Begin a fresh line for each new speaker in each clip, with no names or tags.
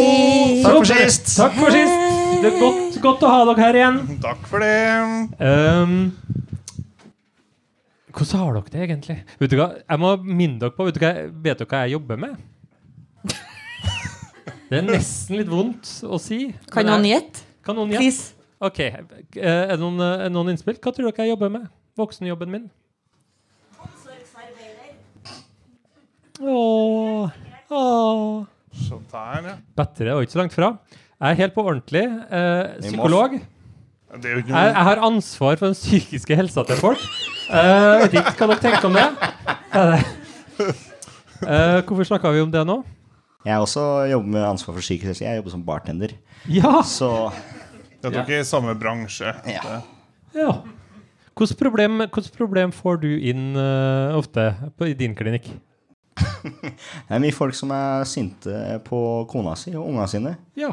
Takk for sist.
Takk for sist. Det er godt, godt å ha dere her igjen.
Takk for det.
Ehm, hvordan har dere det egentlig? Vet du hva? Jeg må minne dere på Vet dere hva, jeg- vet dere hva jeg jobber med? Det er nesten litt vondt å si.
Kan
men
noen
jeg-
gjette?
Kan noen gjette?
Please.
Ok, eh, Er det noen, er det noen innspill? Hva tror dere jeg jobber med? Voksenjobben min? Åh, åh.
Sånn der, ja.
Bedre og ikke så langt fra. Jeg er helt på ordentlig eh,
Vi må-
psykolog.
Det er jo ikke
Jeg,
noe
jeg har ansvar for den psykiske helsa til folk. Eh, vet ikke hva dere tenker om det. Er det? Eh, hvorfor snakka vi om det nå?
Jeg har også jobber med ansvar for psykisk helse. Jeg jobber som bartender.
Ja!
Så
Det er ikke i samme bransje.
ja.
ja. Hvilket problem, hvilket problem får du inn eh, ofte på, i din klinikk?
Det er mye folk som er sinte på kona si og unga sine.
Ja.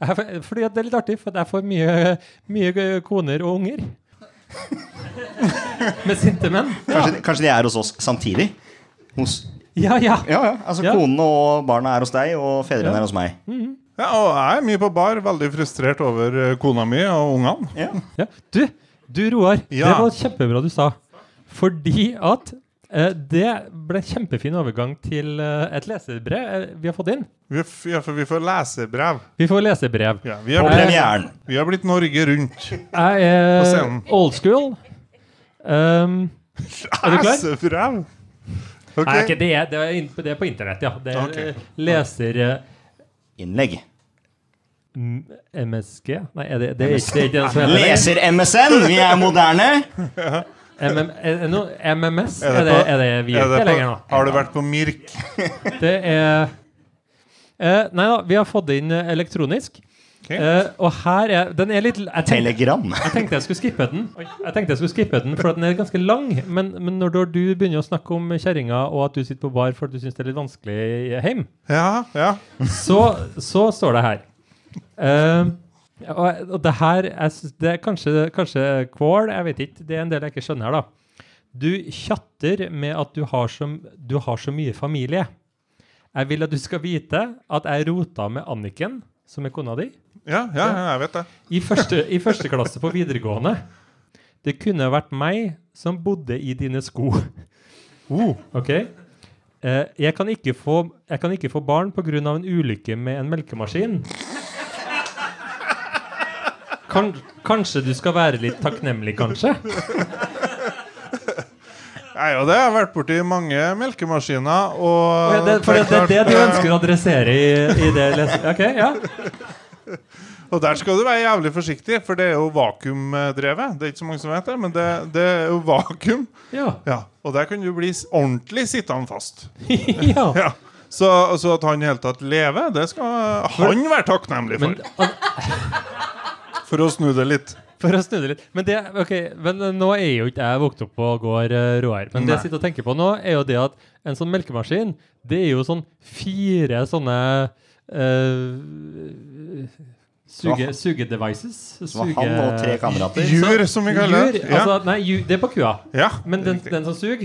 Jeg får- Fordi at Det er litt artig, for at jeg får mye, mye koner og unger. Med sinte menn.
Kanskje, kanskje de er hos oss samtidig? Hos,
Ja, ja.
ja, ja. Altså
Ja.
konene og barna er hos deg, og fedrene er hos meg.
Ja, og jeg er mye på bar. Veldig frustrert over eh, kona mi og ungene.
Ja.
ja. Du, du Roar, det
Ja.
var kjempebra du sa. Fordi at eh, det ble kjempefin overgang til eh, et leserbrev eh, vi har fått inn.
Vi, f ja, for vi får lesebrev.
Vi får lesebrev.
Ja, vi,
På
har blitt,
premieren.
vi har blitt Norge rundt.
Jeg
På
er
scenen.
old school. Um, er du klar?
Lesebrev? Ok.
Nei, ikke det, det, er inn- det er på internett, ja. Det er
Ok.
eh, leser... eh,
Innlegg.
M- MSG? Nei, er det, det, er ikke, det er ikke det som heter det.
Leser MSN! Vi er moderne!
MM, er det noe, MMS?
Er det
Er det,
på-
er det vi
Er
er
det
ikke
på,
lenger nå?
har du vært på Mirk?
Det er eh, Nei da, vi har fått det inn eh, elektronisk.
Ok.
Eh, og her er Den er litt jeg tenkte,
Telegram.
jeg tenkte jeg skulle skippe den, Jeg tenkte jeg skulle skippe den for at den er ganske lang. Men, men når du begynner å snakke om kjerringa og at du sitter på bar for at du syns det er litt vanskelig hjemme,
Ja, ja.
så, så står det her. Eh, og, og det her jeg synes det er kanskje, kanskje kål, jeg vet ikke. Det er en del jeg ikke skjønner her, da. Du tjatter med at du har, så, du har så mye familie. Jeg vil at du skal vite at jeg rota med Anniken, som er kona di,
Ja, ja, ja, jeg vet det.
i første, i første klasse på videregående. Det kunne ha vært meg som bodde i dine sko. Ok? Eh, jeg, kan ikke få, jeg kan ikke få barn pga. en ulykke med en melkemaskin. Kan, kanskje du skal være litt takknemlig, kanskje?
Nei, og det har jeg vært borti mange melkemaskiner, og
For det, for det, det, er det du
klart,
ønsker å adressere i, i det les- Ok, ja.
eh, Og der skal du være jævlig forsiktig, for det er jo vakuumdrevet. Det er ikke så mange som vet det, men det, det er jo vakuum.
Ja.
Ja, Og der kan du bli s- ordentlig sittende fast.
ja.
Ja. Så altså, at han i det hele tatt lever, det skal han være takknemlig
Men,
for. For å snu det litt.
For å snu det litt. Men, det, ok, men eh, nå er jo ikke jeg vokst opp og går uh, råer. Men det jeg sitter og tenker på nå, er jo det at en sånn melkemaskin, det er jo sånn fire sånne eh, suge,
Så-
sugedevices.
Det var han og tre kamerater.
Jur, som vi kaller det.
Jur,
Ja.
altså, nei, ju- det er på kua.
ja.
Men den,
riktig.
den som suger,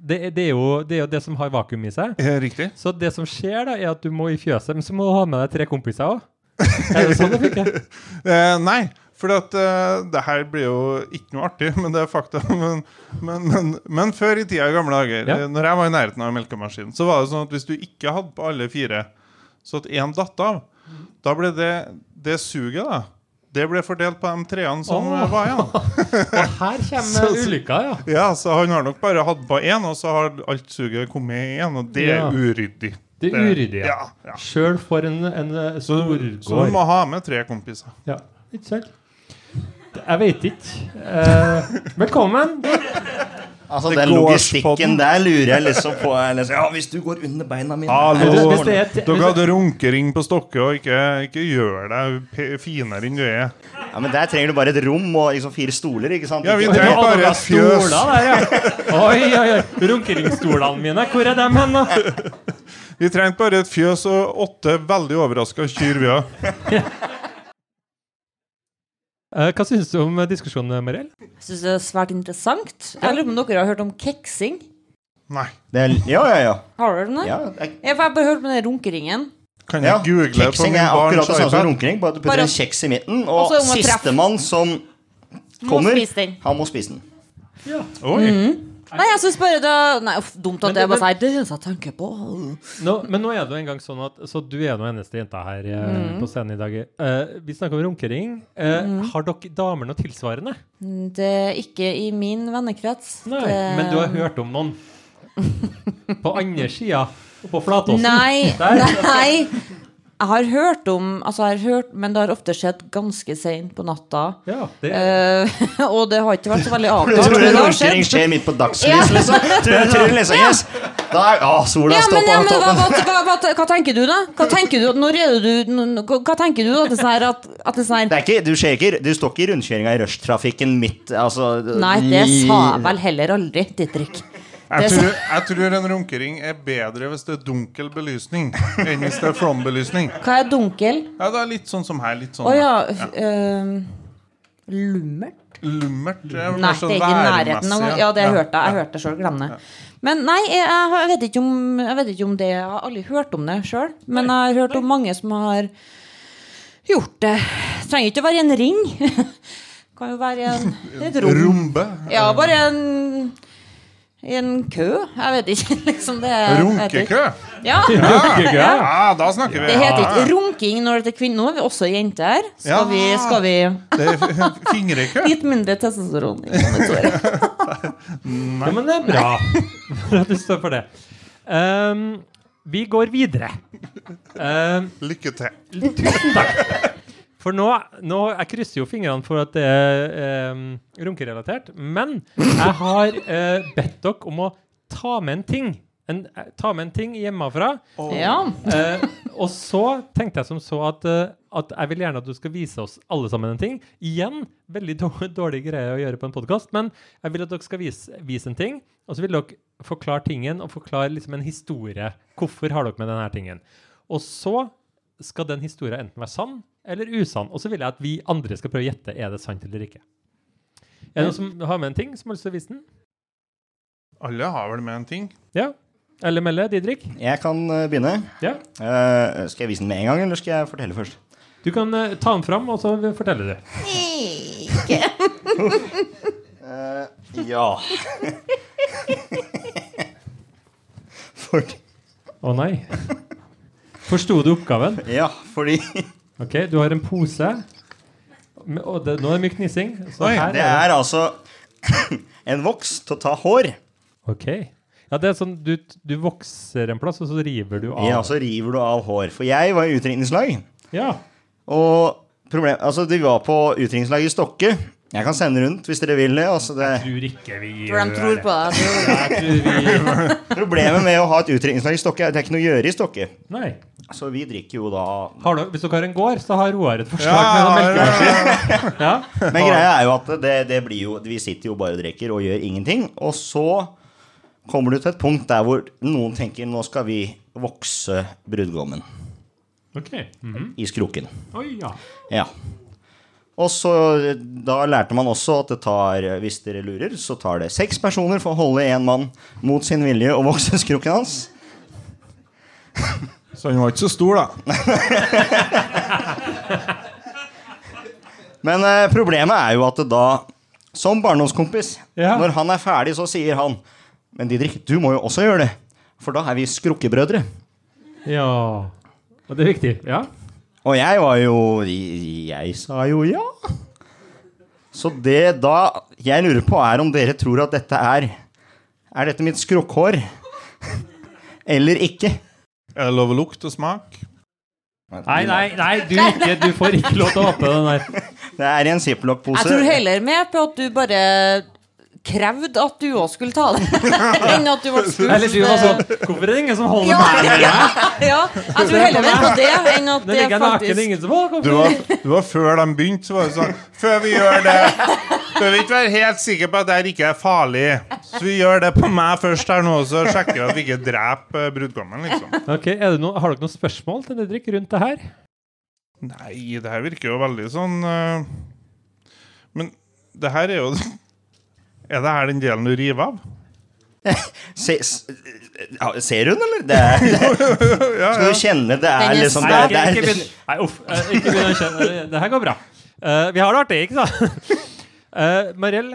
det, er- det, er jo, det er jo det som har vakuum i seg.
Eh, Riktig.
Så det som skjer, da, er at du må i fjøset, men så må du ha med deg tre kompiser òg. Er det sånn det funker?
Eh, nei, for at, eh, det her blir jo ikke noe artig, men det er fakta. Men, men, men, men før i tida i gamle dager,
Ja.
eh, når jeg var i nærheten av en melkemaskin, så var det sånn at hvis du ikke hadde på alle fire, så at én datt av, da ble det, det suget, da. Det ble fordelt på de treene som
Åh.
eh, var igjen.
Og her kommer ulykka, ja.
Ja, Så han har nok bare hatt på én, og så har alt suget kommet i én, og det
Ja.
er uryddig.
Det er uryddig, ja.
Ja, ja.
Sjøl for en, en eh,
Så, så
storgård.
du må ha med tre kompiser.
Ja, ikke sant? Jeg veit ikke. Eh, velkommen!
Altså,
Det
den
går
logistikken
spodden.
der lurer jeg liksom på. Jeg liksom, ja, hvis du går under beina mine
Hallo!
Hvis- hvis det er et-
Dere
hvis-
hadde runkering på Stokke, og ikke, ikke gjør deg pe- finere enn du er.
Ja, men Der trenger du bare et rom og liksom fire stoler. ikke sant?
Ja, vi
Ikke-
trenger- Det er
Å,
bare
dere har
et fjøs.
stoler der, ja. Oi, oi, oi. Runkeringstolene mine, hvor er dem hen, da?
Vi trengte bare et fjøs og åtte veldig overraska kyr. vi har.
Eh, hva syns du om eh, diskusjonen, Mariell?
Jeg syns det er svært interessant. Jeg lurer på om dere har hørt om keksing?
Nei.
Det er, ja, ja, ja.
Har dere det?
ja jeg,
Jeg har bare hørt om den runkeringen.
Kan
Ja,
jeg google på
Keksing
min
er
barns
akkurat det samme som
iPad?
runkering, bare at du putter
Bare-
en kjeks i midten,
Og
og
så må jeg treffe.
sistemann som kommer,
spise den.
han må spise den.
Oi,
Mm, Nei, jeg synes bare det Nei, uff, dumt at
Men det-
jeg bare sier det eneste jeg tenker på.
Nå, men nå er det jo engang sånn at Så du er nå eneste jenta her eh, på scenen i dag. Eh, vi snakker om runkering. Eh, Har dere damer noe tilsvarende?
Det er eh, ikke i min vennekrets.
Nei,
det...
men du har hørt om noen. På andre sida, på Flatåsen.
Nei,
Der.
nei. Jeg har hørt om Altså, jeg har hørt, men det har ofte skjedd ganske seint på natta.
Ja, det,
Eh, og det har ikke vært så veldig
Jeg
avklart.
tror
men
en
det har skjedd.
runkering skjer midt på dagslys, liksom. Tror jeg, tror jeg liksom, yes. Da er, å, sola
Ja,
står
men,
på
ja, men hva,
toppen.
hva, hva, hva, hva tenker du, da? Hva tenker du, at når er det du, nå- hva hva tenker du at det er sånn her at, at det er sånn her
Det er ikke, du, skjer ikke, du står ikke i rundkjøringa i rushtrafikken midt altså,
Nei, det
i-
sa jeg vel heller aldri, Didrik. Det
jeg
sa-
tror, jeg tror en runkering er bedre hvis det er dunkel belysning enn hvis det er flombelysning.
Hva er dunkel?
Ja, det er litt sånn som her. Litt sånn
Å ja. øhm, lummert?
lummert. det er vel
Nei,
kanskje
det er ikke i nærheten av
værmessig,
Ja, det hørte jeg. Jeg hørte det sjøl. Glem det. Men nei, jeg, jeg, har- vet ikke om, jeg vet ikke om det Jeg har aldri hørt om det sjøl. Men jeg har hørt om mange som har gjort det. Trenger ikke å være i en ring. Kan jo være i en, et rom.
Rumbe.
Ja, bare en i en kø? Jeg vet ikke. liksom det er- jeg vet ikke.
Runkekø.
Ja.
Runkekø.
Ja, da snakker vi.
Det heter ikke
Ja.
runking når det er kvinner. Nå er vi også jenter her. Skal,
Ja.
vi, skal vi
Det er f- fingrekø.
Litt mindre testosteron. i monitor.
Ja, men det er bra Bra at du står for det. Ehm, vi går videre. Ehm,
Lykke til.
for nå, nå Jeg krysser jo fingrene for at det er ehm, runkerelatert, men jeg har eh, bedt dere om å ta med en ting. En, eh, ta med en ting hjemmefra.
Oh.
Ja.
Eh, og så tenkte jeg som så at, eh, at jeg vil gjerne at du skal vise oss alle sammen en ting. Igjen, veldig dårlig, dårlig greie å gjøre på en podkast, men jeg vil at dere skal vise, vise en ting. Og så vil dere forklare tingen og forklare liksom en historie. Hvorfor har dere med denne tingen? Og så skal den historien enten være sann eller usann. Og så vil jeg at vi andre skal prøve å gjette er det sant eller ikke. Er det noen som har med en ting som har lyst til å vise den?
Alle har vel med en ting?
Ja? Eller melde? Didrik?
Jeg kan eh, begynne.
Ja?
Eh, skal jeg vise den med en gang, eller skal jeg fortelle først?
Du kan eh, ta den fram, og så forteller du.
Ja. Fordi
Å nei. Forsto du oppgaven?
Ja, fordi
Ok, du har en pose. Men- Og det, nå er det mye knissing. Så
Oi,
her
det er altså en voks til å ta hår.
Ok. Ja, det er sånn du, du vokser en plass, og så river du av.
Ja, så altså, river du av hår. For jeg var i utringningslag.
Ja.
Og problem, altså, de var på utringningslag i Stokke. Jeg kan sende rundt hvis dere vil det. Altså, det
Tror ikke vi
For de tror på deg.
Jeg tror vi
problemet med å ha et utringningslag i Stokke er at det er ikke noe å gjøre i Stokke.
Nei.
Så vi drikker jo da
Har du, hvis dere har en gård, så har Roar et
Ja,
forslag med
ja,
den
ja.
melkemaskin. Ja.
Men greia er jo at det, det blir jo, vi sitter jo bare og drikker og gjør ingenting. Og så kommer du til et punkt der hvor noen tenker nå skal vi vokse brudgommen
Ok. Mhm.
i skroken.
Oi, ja.
Ja. Og så da lærte man også at det tar, hvis dere lurer, så tar det seks personer for å holde en mann mot sin vilje og vokse skrukken hans.
Så han var ikke så stor, da.
Men eh, problemet er jo at det da, som barndomskompis,
Ja.
når han er ferdig, så sier han Men Didrik, du må jo også gjøre det. For da er vi skrukkebrødre.
Ja. Og det er viktig. Ja.
Og jeg var jo Jeg sa jo ja. Så det da jeg lurer på, er om dere tror at dette er Er dette mitt skrukkhår? Eller ikke?
Er det lov å lukte og smake?
Nei, nei, nei, du, ikke, du får ikke lov til å åpne den der.
Det er i en ziplock-pose.
Jeg tror heller med på at du bare krevde at du òg skulle ta det, enn at du ble spurt.
Eller du var sånn Hvorfor er det ingen som holder
ja,
meg?
ja, ja, jeg tror heller med på det enn at
Det
det
ligger en naken,
faktisk
ingen som Å, hvorfor-
Det var, det var før de begynte, så var det sånn Før vi gjør det Bør vi ikke være helt sikre på at det her ikke er farlig. Så vi gjør det på meg først her nå, så sjekker vi at vi ikke dreper eh, brudgommen, liksom.
Ok, er det noe, Har dere noen spørsmål til Didrik rundt det her?
Nei, det her virker jo veldig sånn eh, Men det her er jo Er det her den delen du river av?
Se, s- ja, ser hun, eller? Det er, skal du kjenne det er
Den er
liksom det
Nei,
er,
ikke, ikke
det
begynn. Nei, uff. eh, Ikke begynn å kjenne Det her går bra. Eh, vi har det artig, ikke sant? Uh, Mariell,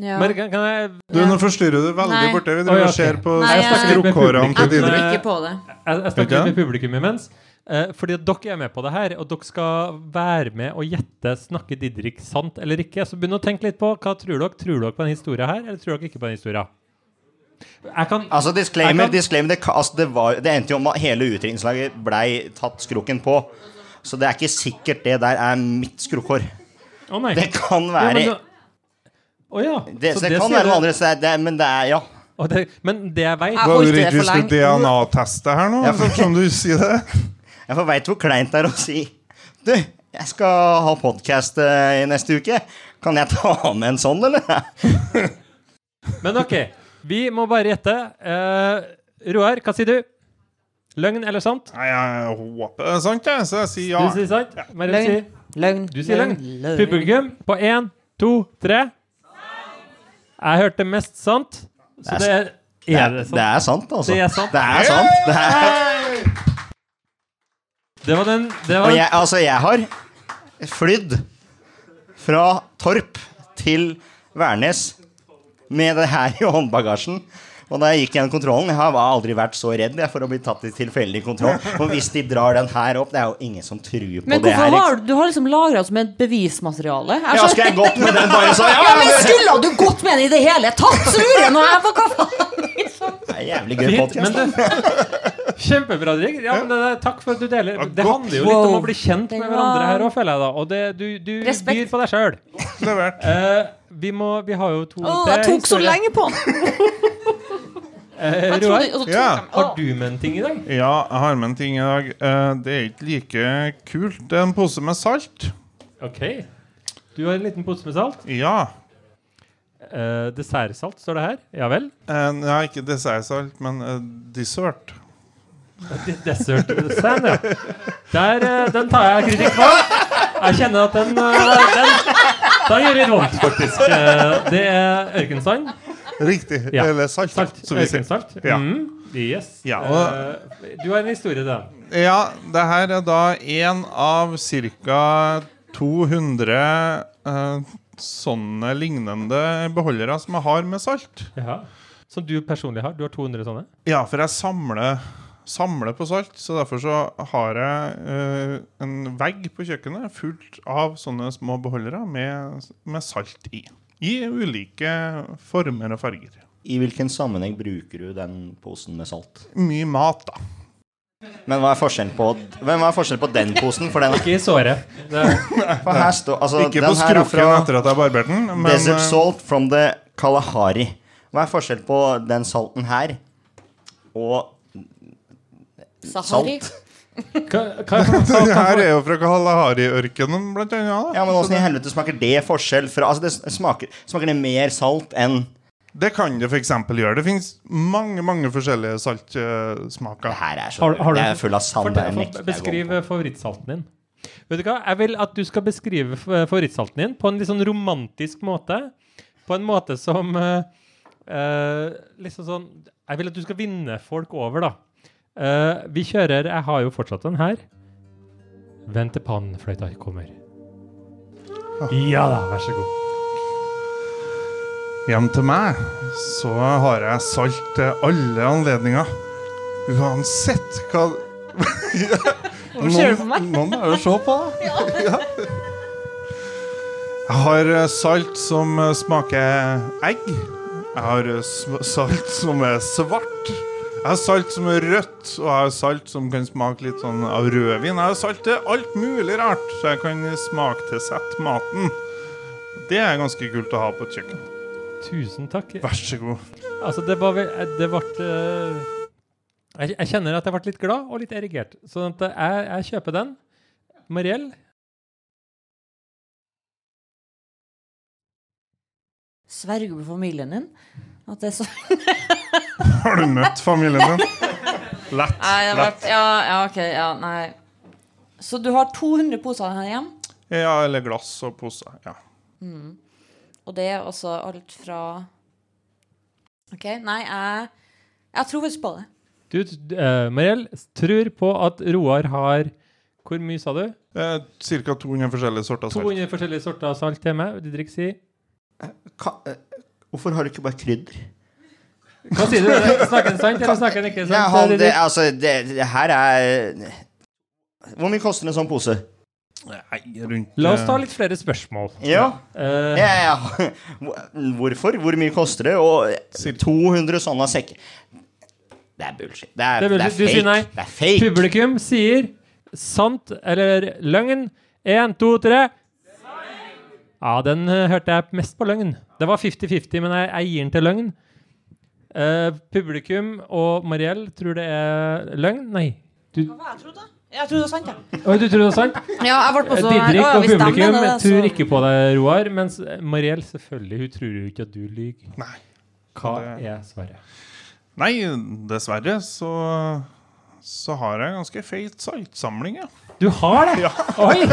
Ja.
Mar kan kan jeg,
Du, nå forstyrrer du veldig
Nei.
borti. Vi
Å,
driver
ja,
og ser
ok.
på
Nei, jeg-
skrukkhårene til
Jeg tror
Didrik.
Didrik.
ikke på det.
jeg, jeg snakker
Ok.
litt med publikum imens. eh, fordi at dere er med på det her, og dere skal være med og gjette snakker Didrik sant eller ikke. Så begynn å tenke litt på hva tror dere Tror dere på den historien her, eller tror dere ikke på den historien? Jeg kan
Altså, disclaimer,
Jeg kan-
disclaimer det, ka- altså, det, var, det endte jo om at hele utdrikningslaget blei tatt skrukken på. Så det er ikke sikkert det der er mitt skrukkhår.
Å nei.
Det kan
Ja, men
være
da- Å ja.
det,
så
så det kan
sier
være noe
du-
andre steder, det er- men det er ja.
Å, det, men det jeg vet
Jeg
Var
orker
det
det
ikke
for
vi skulle
lenge.
DNA-teste her nå?
Ja, for-
Som du sier det?
Jeg får veit hvor kleint det er å si Du, jeg skal ha podkast i neste uke. Kan jeg ta med en sånn, eller?
Men ok, vi må bare gjette. Eh, Roar, hva sier du? Løgn eller sant?
Nei, jeg håper det er sant, jeg. Så jeg sier
Du sier
ja.
sant. Mariell
Løgn.
sier
Løgn.
Du sier løgn. Publikum på én, to, tre. Jeg hørte mest sant, så det er, er det
Det
sant.
er sant, altså.
Det er sant.
Det er sant. Det er,
Det var den det var,
og jeg, altså, jeg har flydd fra Torp til Værnes med det her i håndbagasjen. Og da jeg gikk gjennom kontrollen, jeg har aldri vært så redd jeg, for å bli tatt i tilfeldig kontroll. Og hvis de drar den her opp, det er jo ingen som truer på
Men
det
hvorfor
her. ikke
har du, du har liksom lagra det som et bevismateriale? Jeg
Ja,
skjønner-
Altså-
skulle jeg gått med den bare så
Ja, men skulle du gått med den i det hele tatt, så lurer jeg nå jeg på hva faen liksom.
Det er jævlig gøy
Fint, men
podcast da.
det, Kjempebra, Drik. Ja, men det, det, takk for at du deler.
Ja,
Det
godt.
handler jo litt om å
Wow.
bli kjent
Den
med
var-
hverandre her òg, føler jeg. da Og det, du, du
Respekt.
byr på deg sjøl.
Levert.
vi, må- vi har jo to
Å,
det er
jeg tok så
historie.
lenge på den.
Eh,
Jeg
Roar,
trodde- og så tok
Ja.
jeg meg-
har
Å.
du med en ting i dag?
Ja, jeg har med en ting i dag. Eh, Det er ikke like kult. Det er en pose med salt.
Ok. Du har en liten pose med salt.
Ja.
Eh, dessertsalt står det her. Ja vel.
Eh, Nei, ikke dessertsalt, men eh, dessert.
D- Dessert sand, ja. Der, eh, den tar jeg kritikk på. Jeg kjenner at den, eh, den Da gjør det vondt, faktisk. Eh, det er ørkensand.
Riktig.
Ja.
Eller salt.
Salt.
som vi sier.
Ørkensalt.
Ja.
Mm, yes.
Ja,
Eh, du har en historie, da.
Ja, det her er da én av ca. 200 eh, sånne lignende beholdere som jeg har med salt.
Ja. Som du personlig har. Du har 200 sånne.
Ja, for jeg samler, samler på salt, så derfor så har jeg eh, en vegg på kjøkkenet fullt av sånne små beholdere med, med salt i. I ulike former og farger.
I hvilken sammenheng bruker du den posen med salt?
Mye mat, da.
Men hva er forskjellen på, hvem er forskjellen på den posen? For den
Ikke i såret. Det,
for her står altså,
Ikke på
den her er
skrukken
fra
etter at jeg barberte den. Men,
Desert
eh,
Salt from the Kalahari. Hva er forskjellen på den salten her og
Sahari.
salt?
hva, hva, hva, hva,
Det her er jo fra Kalahari-ørkenen, blant annet. da.
Ja, men Åssen i helvete smaker det forskjell fra Altså, det smaker, smaker det mer salt enn
Det kan det f.eks. gjøre. Det fins mange mange forskjellige
Det
saltsmaker.
her er så
Har- har du-
Det er full av sand. Det er
Fortell-
nekter jeg å gå
Beskriv
på.
eh, favorittsalten din. Vet du hva? Jeg vil at du skal beskrive f- eh, favorittsalten din på en litt sånn romantisk måte. På en måte som eh, eh, Liksom sånn Jeg vil at du skal vinne folk over, da. Eh, vi kjører Jeg har jo fortsatt den her. Vent til pannfløyta kommer. Ja da, vær så god.
Hjem til meg så har jeg salt til alle anledninger. Uansett hva
Hvorfor ser du på meg?
Noen- Noen er jo se på, da. Ja. Jeg har eh, salt som eh, smaker egg. Jeg har eh, sm- salt som er svart. Jeg har salt som er rødt, og jeg har salt som kan smake litt sånn av rødvin. Jeg har salt til alt mulig rart, så jeg kan smaktilsette maten. Det er ganske kult å ha på et kjøkken.
Tusen takk.
Vær så god.
Altså, det var vel eh, Det ble eh, jeg, jeg kjenner at jeg ble litt glad og litt erigert. Så at eh, jeg, jeg kjøper den. Mariell,
Sverger du på familien din? At det er så
Har du møtt familien din? Lett. lett.
ja, ok. Ja, nei. Så du har 200 poser her hjem?
Ja, eller glass og poser. Ja.
Og det er altså alt fra Ok, Nei, jeg, jeg tror faktisk på det.
Du, uh, Mariell, tror på at Roar har Hvor mye sa du?
Eh, Cirka 200 forskjellige sorter salt.
200 forskjellige sorter av salt hjemme. Didrik sier
Ka- eh, Hvorfor har du ikke bare krydder?
Hva sier du? Snakker han sant, eller snakker han ikke sant?
Ja, han, det,
Didrik?
altså, det, det her er Hvor mye koster en sånn pose?
Nei, rundt
La oss ta
eh,
litt flere spørsmål.
Ja,
Eh,
ja, ja. Hvorfor? Hvor mye koster det? Og 200 sånne sekker Det er bullshit. Det
Det
er,
er
det
bullshit.
er
Du sier nei.
fake. Det er fake.
Publikum sier sant eller løgn. Én, to, tre. Ja, den eh, hørte jeg mest på løgn. Det var 50-50, men jeg, jeg gir den til løgn. Eh, publikum og Mariell tror det er løgn. Nei. Du,
Jeg tror det. Jeg tror det er sant, jeg.
Oi, du tror det er sant?
Ja, jeg ble på så
Eh,
Å,
Didrik
Altså, ja,
og
hvis de
publikum
mener det, altså. så-
tror ikke på deg, Roar. Mens Mariell, selvfølgelig, hun tror jo ikke at du lyver.
Nei.
Hva
Det-
er svaret?
eh, Nei, dessverre så så har jeg en ganske feit saltsamling, ja.
Du har det? Oi!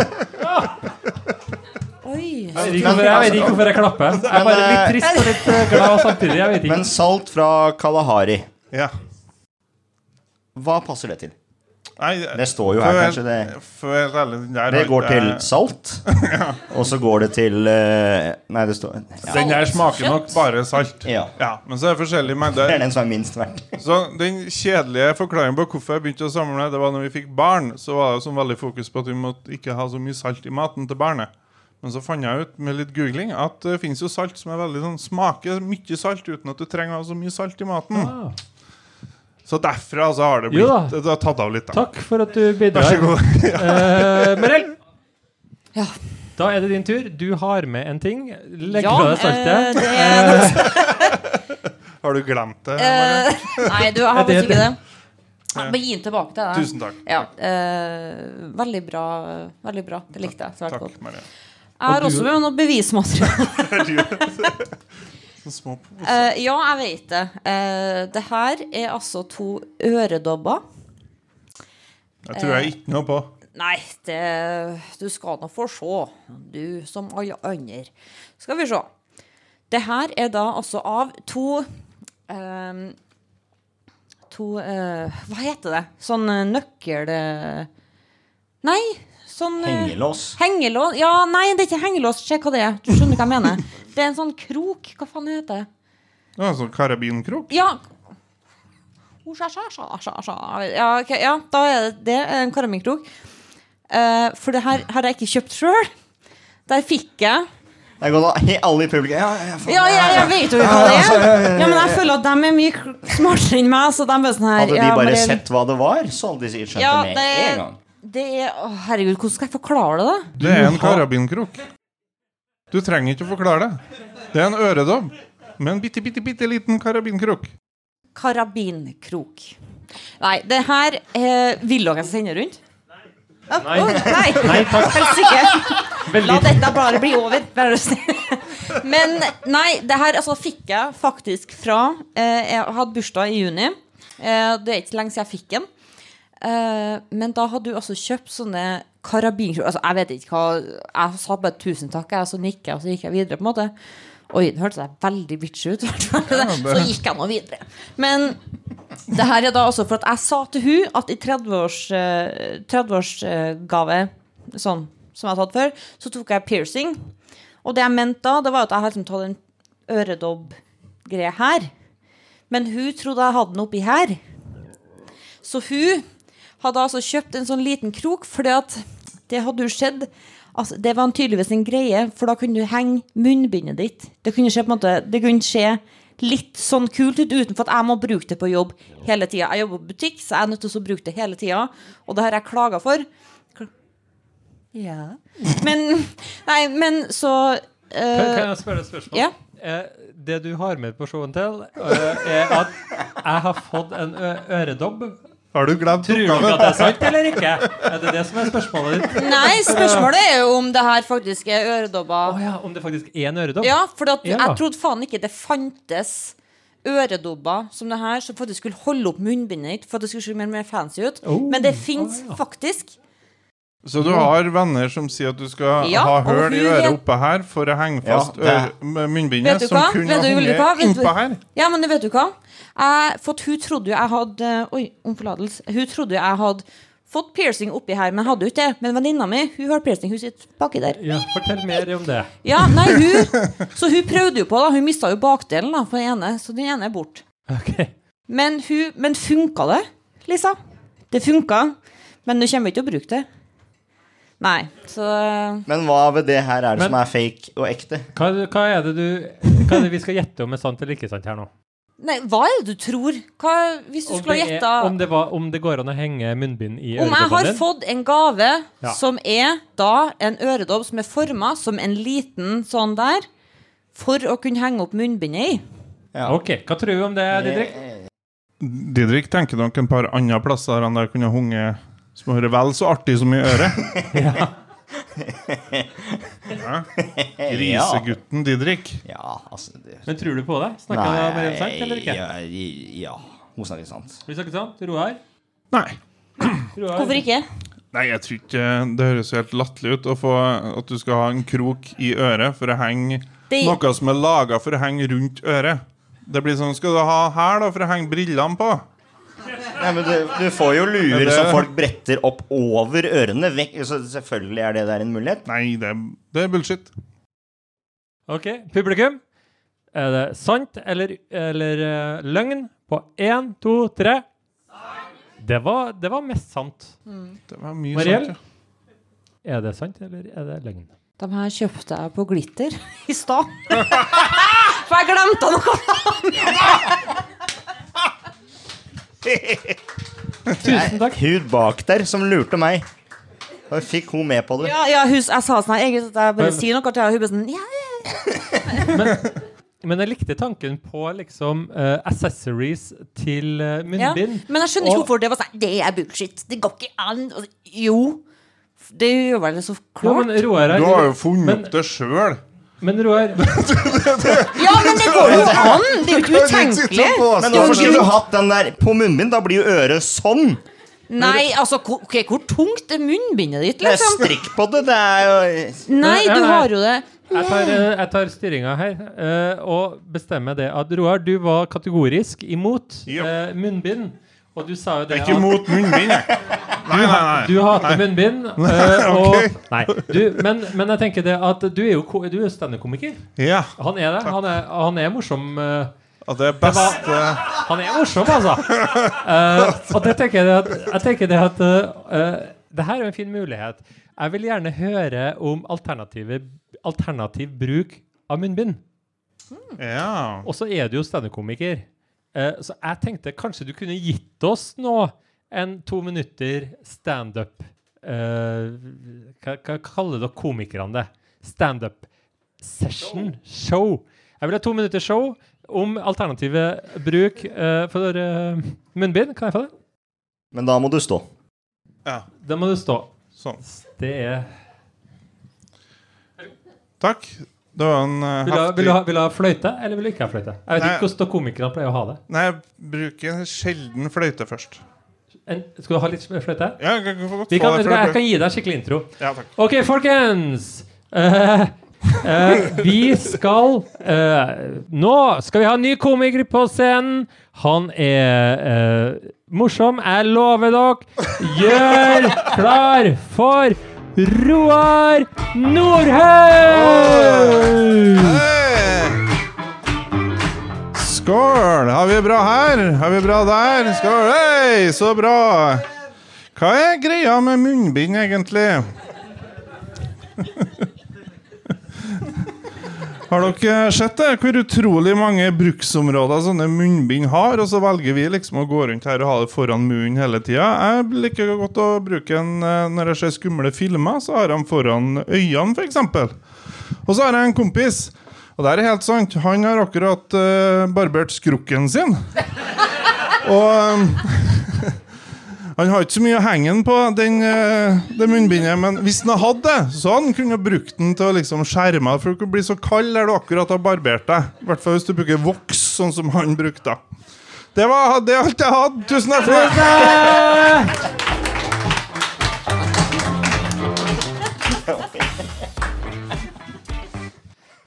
Oi.
Jeg vet ikke hvorfor jeg, jeg, vet ikke hvorfor jeg klapper. Jeg er bare litt trist og litt eh, glad samtidig. Jeg vet ikke.
Men salt fra Kalahari,
ja.
hva passer det til?
Nei, eh,
Det står jo her, kanskje. Det,
Før alle den der
det
har
går
ikke-
til salt, og så går det til eh, Nei, det står ja.
Den der smaker nok bare salt.
Ja.
Men så er det forskjellig
Det er
mengder.
den som er minst verdt.
Så den kjedelige forklaringen på hvorfor jeg begynte å samle, det var når vi fikk barn, så var det sånn veldig fokus på at vi måtte ikke ha så mye salt i maten til barnet. Men så fant jeg ut med litt googling at det finnes jo salt som er veldig sånn, smaker mye salt uten at du trenger å ha så mye salt i maten.
Ah,
Så derfra så har det
Jo
blitt
da.
Det har tatt av litt, da.
takk for at du bidrar.
Vær så god.
Eh, Merel,
Ja.
da er det din tur. Du har med en ting. Legg
Ja,
fra deg
eh,
saltet.
det er-
Har du glemt det? Maria?
eh, Nei, du, jeg har
Er det
faktisk ikke det. Jeg må gi den tilbake til deg.
Tusen takk.
Ja, eh, veldig bra. Veldig bra. Det likte jeg svært godt.
Takk, Maria.
Jeg har
Og du-
også med noe bevismateriale.
Så små på.
Eh, ja, jeg vet det. Uh, det her er altså to øredobber.
Jeg tror jeg ikke noe på.
Nei, det, du skal nå få se, du som alle andre. Skal vi se. Det her er da altså av to ehm, To eh, Hva heter det? Sånn eh, nøkkel... eh, Nei, sånn eh,
Hengelås.
Hengelås Ja, nei, det er ikke hengelås. Se hva det er. Du skjønner hva jeg mener. Det er en sånn krok. Hva faen heter det?
Det var en sånn karabinkrok.
Ja. Oh, Osja, sja, sja, sja, sja. Ja, ok, ja, da er det, det er en karamellkrok. Eh, for det her har jeg ikke kjøpt sjøl. Der fikk jeg
Det er godt, da. Alle i publikum ja, ja, faen.
Ja, ja, jeg vet jo hva det er! Ja, Men jeg føler at de er mye kl- smartere enn meg. Så de er sånn her
Hadde de
ja,
bare
Marielle.
sett hva det var, så hadde de sikkert skjønt
ja,
det
det,
med
er-
en gang.
det er Å, herregud, hvordan skal jeg forklare det, da?
Det er en
har-
karabinkrok. Du trenger ikke å forklare det. Det er en øredobb med en bitte, bitte, bitte liten karabinkrok.
Karabinkrok. Nei, det her eh, vil dere sende rundt? Nei. nei.
Nei, takk.
Helst ikke. La
Veldig
dette bare bli over. Vær så snill. Men nei, det her altså, fikk jeg faktisk fra eh, Jeg hadde bursdag i juni. Eh, det er ikke lenge siden jeg fikk den. Eh, men da hadde du altså kjøpt sånne karabinkroker altså, Jeg vet ikke hva Jeg sa bare 'tusen takk', jeg, og så nikket jeg, og så gikk jeg videre. på en måte Oi, det hørtes jeg veldig bitch ut. i hvert fall. Så gikk jeg nå videre. Men det her er da altså for at jeg sa til hun at i 30-årsgave 30 årsgave sånn som jeg har tatt før, så tok jeg piercing. Og det jeg mente da, det var at jeg hadde liksom tatt en øredobb-greie her. Men hun trodde jeg hadde den oppi her. Så hun hadde altså kjøpt en sånn liten krok, fordi at det hadde jo skjedd. Altså, det var en tydeligvis en greie, for da kunne du henge munnbindet ditt. Det kunne skje, på en måte, det kunne skje litt sånn kult ut utenfor at jeg må bruke det på jobb hele tida. Jeg jobber på butikk, så jeg er nødt til å bruke det hele tida, og det har jeg klaga for. Kl- Ja. Men Nei, men så
Kan, kan
eh,
jeg spørre et spørsmål?
Ja.
Eh, det du har med på showen til, eh, er at jeg har fått en ø øredobb.
Har du glemt
Tror du at
oppgaven?
det er sant eller ikke? Er det det som er spørsmålet ditt?
Nei, spørsmålet er jo om det her faktisk er øredobber.
Å ja, om det faktisk er en øredobb?
Ja, for at,
Ja.
jeg trodde faen ikke det fantes øredobber som det her, som faktisk skulle holde opp munnbindet ditt for at det skulle se mer, mer fancy ut.
Oh.
Men det fins
Å, ja.
faktisk.
Så du har venner som sier at du skal
Ja,
ha
og
høl i
hun
øret
vet-
oppe her for å henge
Ja,
fast
det-
øre- med munnbindet,
Vet du
som
hva?
kunne ha
Vet du- vil du hva?
hengt
Vet du-
innpå her.
Ja, men vet du hva? Jeg, for at hun trodde jo jeg hadde Oi, om forlatelse. Hun trodde jo jeg hadde fått piercing oppi her, men jeg hadde jo ikke det. Men venninna mi hun har piercing, hun sitter baki der.
Ja, fortell mer om det.
Ja, nei, hun Så hun prøvde jo på, da. Hun mista jo bakdelen da, på den ene, så den ene er borte.
Ok.
Men, hun- men funka det, Lisa? Det funka, men du kommer ikke til å bruke det. Nei, så
Men hva ved det her er det
Men-
som er fake og ekte?
Hva, hva er det du Hva er det vi skal gjette om er sant eller ikke sant her nå?
Nei, hva er det du tror? Hva, hvis du
Om
skulle ha
det er-
gjetta
om, det var- om det går an å henge munnbind i
Om jeg har
øredobbene din?
fått en gave
Ja.
som er da en øredobb som er forma som en liten sånn der, for å kunne henge opp munnbindet i
Ok, hva tror du om det, Didrik?
Didrik tenker nok en par andre plasser der han der kunne hunget som hører vel så artig som i øret. ja. Grisegutten Didrik.
Ja, altså det,
Men tror du på det? Snakker jeg med en sant eller ikke?
ja, ja. Hun snakker sant.
Blir det ikke sant? Roar?
Nei.
Roar?
Hvorfor ikke?
Nei, jeg tror ikke Det høres jo helt latterlig ut å få at du skal ha en krok i øret for å henge
Det-
noe som er laga for å henge rundt øret. Det blir sånn Skal du ha her, da, for å henge brillene på?
Nei, men du, du får jo lurer
Men det-
som folk bretter opp over ørene. Vekk, så selvfølgelig er det der en mulighet.
Nei, det, det er bullshit.
Ok, publikum. Er det sant eller, eller eh, løgn? På én, to, tre. Det var, det var mest sant.
Det var mye
Mariell?
sant, ja.
Er det sant, eller er det løgn?
De her kjøpte jeg på Glitter i stad. For jeg glemte noe!
Tusen takk.
Hun bak der som lurte meg. Og fikk hun med på det.
Ja, ja, hus, jeg sa sånn her, egentlig at jeg bare
Men-
sier noe til henne, og hun bare sånn ja, ja.
Men jeg likte tanken på liksom eh, accessories til eh,
ja.
munnbind.
Men jeg skjønner ikke
Og-
hvorfor det var sånn Det er bullshit. Det går ikke an. Og så, Jo. Det gjør vel det så
Jo,
klart.
men Roar
Du har jo funnet
Men-
opp det sjøl.
Men Roar,
Ja, men det går jo an! Det er jo ikke utenkelig.
Men hvorfor skulle du hatt den der på munnbind? Da blir jo øret sånn!
Nei, altså, hvor, ok, hvor tungt er munnbindet ditt,
Det er
liksom?
strikk på det. Det er jo
Nei,
Nei,
du
nei.
har jo det.
jeg tar, eh, jeg tar styringa her eh, og bestemmer det at Roar, du var kategorisk imot
Ja.
eh, munnbind. Og du sa jo det
Jeg er ikke
at
mot munnbind, jeg. Nei, nei, nei.
Du hater munnbind. eh, og,
Ok.
nei, du, men, men jeg tenker det at du er jo ko- du er jo standup-komiker.
Ja,
Han er det. Han er, han er morsom. eh,
at det er best eh,
Han er morsom, altså. Eh, og det tenker jeg det at, jeg tenker det at eh, eh, det her er en fin mulighet. Jeg vil gjerne høre om alternative, alternativ bruk av munnbind.
eh, Ja.
Og så er du jo standup-komiker. Eh, så jeg tenkte kanskje du kunne gitt oss nå en to minutter standup eh, hva, hva kaller dere komikerne det? Standup session? Show? Jeg vil ha to minutter show om alternative bruk eh, for eh, munnbind. Kan jeg få det?
Men da må du stå.
ja.
Da må du stå.
Sånn.
Det er
Takk. Det var en eh,
vil du, ha,
heftig
vil, du ha, vil du ha fløyte, eller vil du ikke ha fløyte? Jeg vet
Nei.
ikke hvordan komikerne pleier å ha det.
Nei, jeg bruker sjelden fløyte først.
En, skal du ha litt fløyte?
Ja, jeg kan godt
Vi
få
kan,
det
vet du
fra
hva, jeg
prøv.
kan gi deg skikkelig intro.
Ja, takk.
Ok, folkens. Eh, eh, vi skal eh, Nå skal vi ha en ny komiker på scenen. Han er eh, morsom. Jeg lover dere. Gjør klar for Roar Nordhaug!
Hei! Skål! Har vi det bra her? Har vi det bra der? Skål! Hei, så bra! Hva er greia med munnbind, egentlig? Har dere sett det? Hvor utrolig mange bruksområder sånne munnbind har, og så velger vi liksom å gå rundt her og ha det foran munnen hele tida. Jeg liker godt å bruke en eh, når jeg ser skumle filmer, så har jeg den foran øynene, f.eks. Og så har jeg en kompis. Og det er helt sant. Han har akkurat eh, barbert skrukken sin. Og ehm, han har ikke så mye å henge den på, den, eh, det munnbindet, men hvis han hadde det, så hadde han kunnet brukt den til å liksom skjerme deg, for du kan bli så kald der du akkurat har barbert deg. I hvert fall hvis du bruker voks, sånn som han brukte. Det var det er alt jeg hadde. Tusen takk for det.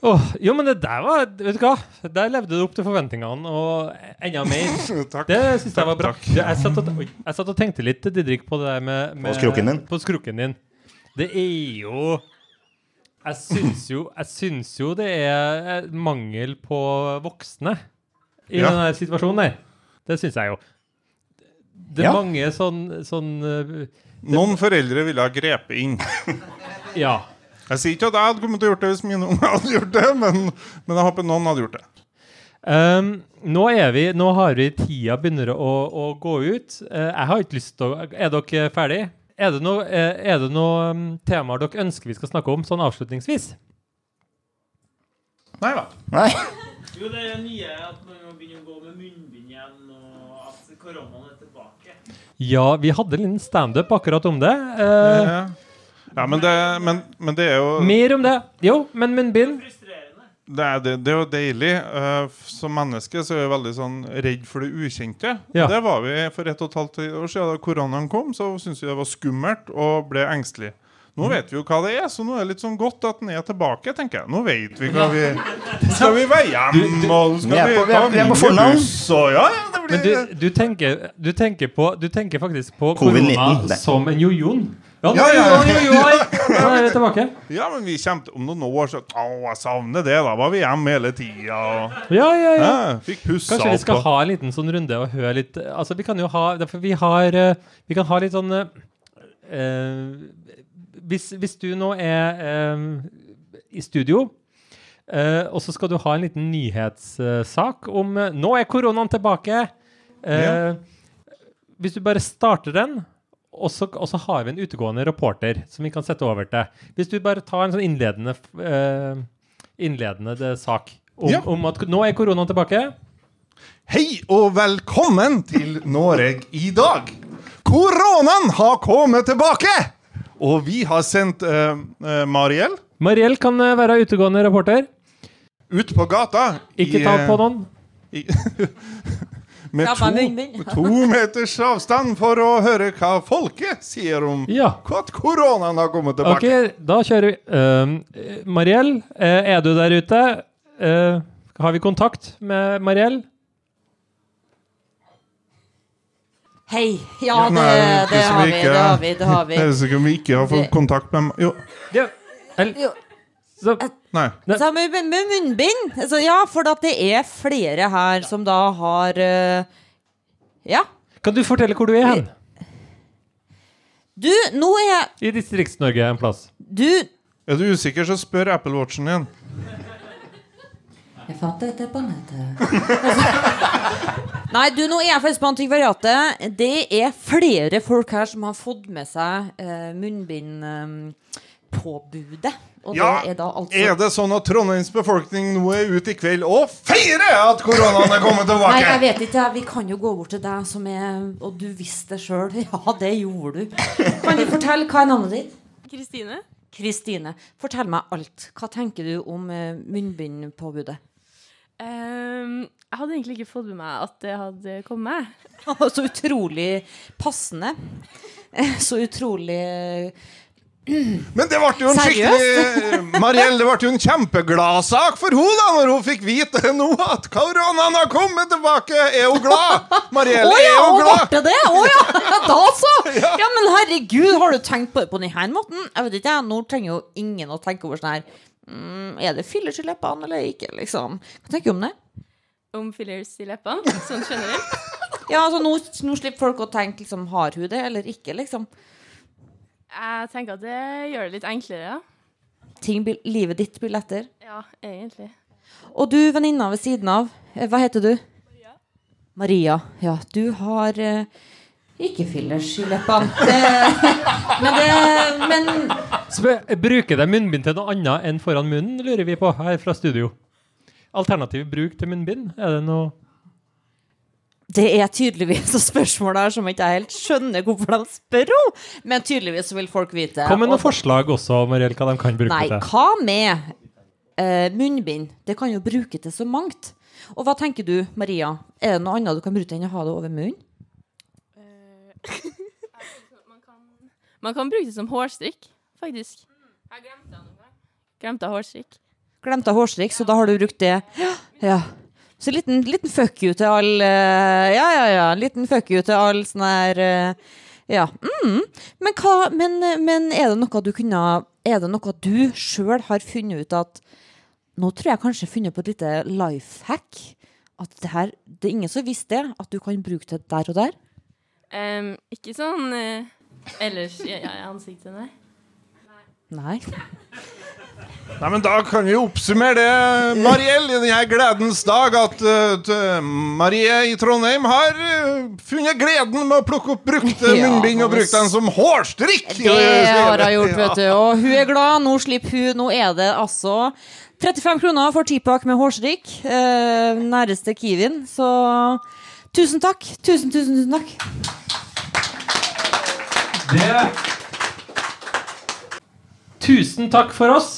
Åh, jo, men det der var Vet du hva? Der levde du opp til forventningene, og enda mer.
Takk.
Det syns jeg var bra.
Takk,
Du, Jeg satt, og, oi, jeg satt og tenkte litt, Didrik, på det der med, med
skrukken din.
På skrukken din. Det er jo Jeg syns jo, jeg syns jo det er eh, mangel på voksne i
Ja.
denne situasjonen der. Det syns jeg jo. Det er
Ja.
mange sånn, sånn eh,
Noen foreldre ville ha grepet inn.
Ja.
Jeg sier ikke at jeg hadde kommet til å gjort det hvis mine unger hadde gjort det, men, men jeg håper noen hadde gjort det.
Um, nå er vi, nå har vi tida begynner å, å gå ut. Eh, jeg har ikke lyst til å Er dere ferdig? Er det noe- eh, er det noen um, temaer dere ønsker vi skal snakke om sånn avslutningsvis?
Nei da.
Nei.
Jo, det er nye at man må begynne å gå med munnbind igjen, og at koronaen er tilbake.
Ja, vi hadde en liten standup akkurat om det. Eh,
Ja, men det, men, men det er jo
mer om det. Jo, men munnbind.
Frustrerende.
det er, det, det er jo deilig. Eh, f- som menneske så er vi veldig sånn redd for det ukjente.
Ja.
Det var vi for ett og et halvt år siden da koronaen kom. Så syntes vi det var skummelt og ble engstelig.
Mm.
Nå vet vi jo hva det er, så nå er det litt sånn godt at den er tilbake. tenker jeg. Nå vet vi hva vi Skal vi være hjem, og
Vi er
skal vi
på- vi er-
ta
vi er på
mindre
fornavn.
buss, og ja, ja, det
Men
blir
du, du, tenker, du, tenker på, du tenker faktisk på
Covid-19,
korona
det.
som en jojon. Ja,
Ja, ja, ja.
jo, jo, jo, jo, Nå er vi tilbake.
Ja, men vi kommer til- om noen år så Å, jeg savner det. Da var vi hjemme hele tida. Og,
Ja, ja, ja.
ja, fikk pussa
Kanskje vi skal
opp. og-
ha en liten sånn runde og høre litt eh, Altså, vi kan jo ha derfor Vi har eh, Vi kan ha litt sånn eh, eh, hvis, hvis du nå er eh, i studio, eh, og så skal du ha en liten nyhetssak om eh, Nå er koronaen tilbake! Eh, Hvis du bare starter den, og så, og så har vi en utegående reporter som vi kan sette over til. Hvis du bare tar en sånn innledende, f- eh, innledende eh, sak om,
Ja.
om at nå er koronaen tilbake.
Hei og velkommen til Norge i dag. Koronaen har kommet tilbake! Og vi har sendt eh, eh, Mariell
Mariell kan eh, være utegående reporter.
ut på gata.
Ikke ta på noen.
i- eh, med
Ja, men min-
to,
min.
to meters avstand for å høre hva folket sier om
Ja.
at koronaen har kommet
Ok,
tilbake.
da kjører vi. Eh, Mariell, eh, er du der ute? Eh, har vi kontakt med Mariell?
Hei. Ja, det,
Nei,
det,
hvis
har
vi
vi,
ikke-
det har vi. Det har vi.
Det er sikkert vi ikke har fått
Det-
kontakt med Jo,
Ja. El,
Jo.
så,
nei.
Så med, med, med munnbind altså, Ja, for at det er flere her som da har eh, Ja.
kan du fortelle hvor du er hen?
Du, nå er
I Distrikts-Norge en plass.
Du
Er du usikker, så spør Apple Watchen din.
Jeg fant dette på nettet. Nei, du, nå er jeg faktisk på antikvariatet. Det er flere folk her som har fått med seg uh, munnbindpåbudet. og
Ja,
det er da altså
Er det sånn at Trondheims befolkning nå er ute i kveld og feirer at koronaen er kommet
Nei, jeg
tilbake?
vet ikke. jeg. Vi kan jo gå bort til deg som er Og du visste det sjøl. Ja, det gjorde du. Kan du fortelle hva er navnet ditt?
Kristine?
Kristine, fortell meg alt. Hva tenker du om eh, munnbindpåbudet?
Ehm, jeg hadde egentlig ikke fått med meg at det hadde kommet.
Så utrolig passende. Eh, Så utrolig
Men det ble jo en skikkelig Mariell, det ble jo en kjempegladsak for hun da når hun fikk vite nå at koronaen har kommet tilbake. Er hun glad?
Å
Mariell,
ja,
er hun
og
glad?
ble det? Å ja, da så! Ja, men herregud, har du tenkt på det på denne måten? Jeg vet ikke, jeg. Nå trenger jo ingen å tenke over sånn her mm, Er det fillers i leppene eller ikke, liksom? Hva tenker du om det?
Om fillers i leppene, sånn generelt.
Ja, altså nå, nå slipper folk å tenke liksom, har hun det eller ikke, liksom.
Jeg tenker at det gjør det litt enklere, ja.
Ting blir, livet ditt blir lettere.
Ja, egentlig.
Og du, venninna ved siden av, eh, hva heter du? Maria. Ja, du har eh, ikke fillers i leppene. Det- Men det Men
Sp- eh, Bruker de munnbind til noe annet enn foran munnen, lurer vi på her fra studio. Alternativ bruk til munnbind? Er det noe
det er tydeligvis et spørsmål her som jeg ikke helt skjønner hvorfor de spør om. Men tydeligvis så vil folk vite.
Kom med noen
Og-
forslag også, Mariell, hva de kan bruke
Nei,
det til.
hva med eh, munnbind? Det kan jo bruke til så mangt. Og hva tenker du, Maria? Er det noe annet du kan bruke enn å ha det over munnen?
Man kan bruke det som hårstrikk, faktisk. Jeg glemte det noen gang. Glemte jeg hårstrikk.
Glemte jeg hårstrikk, så da har du brukt det. Ja, ja. Så liten, liten fuck you til all eh, Ja, ja, ja. Liten fuck you til all sånn her eh, Ja. Mm. Men, hva, men, men er det noe du kunne Er det noe du sjøl har funnet ut at Nå tror jeg kanskje jeg har funnet på et lite life hack. At det her Det er ingen som visste det. At du kan bruke det der og der.
Ehm, ikke sånn eh, ellers i i ansiktet, nei.
Nei.
Nei, men Da kan vi oppsummere det, Mariell, i denne gledens dag, at eh, t- Marie i Trondheim har eh, funnet gleden med å plukke opp brukte
Ja,
munnbind og
men
bruke dem som hårstrikk!
Det har hun gjort, vet du. Og hun er glad. Nå slipper hun. Nå er det altså 35 kroner for tipakk med hårstrikk. Eh, næreste Kiwien. Så tusen takk. Tusen, tusen, tusen takk.
Tusen takk for oss.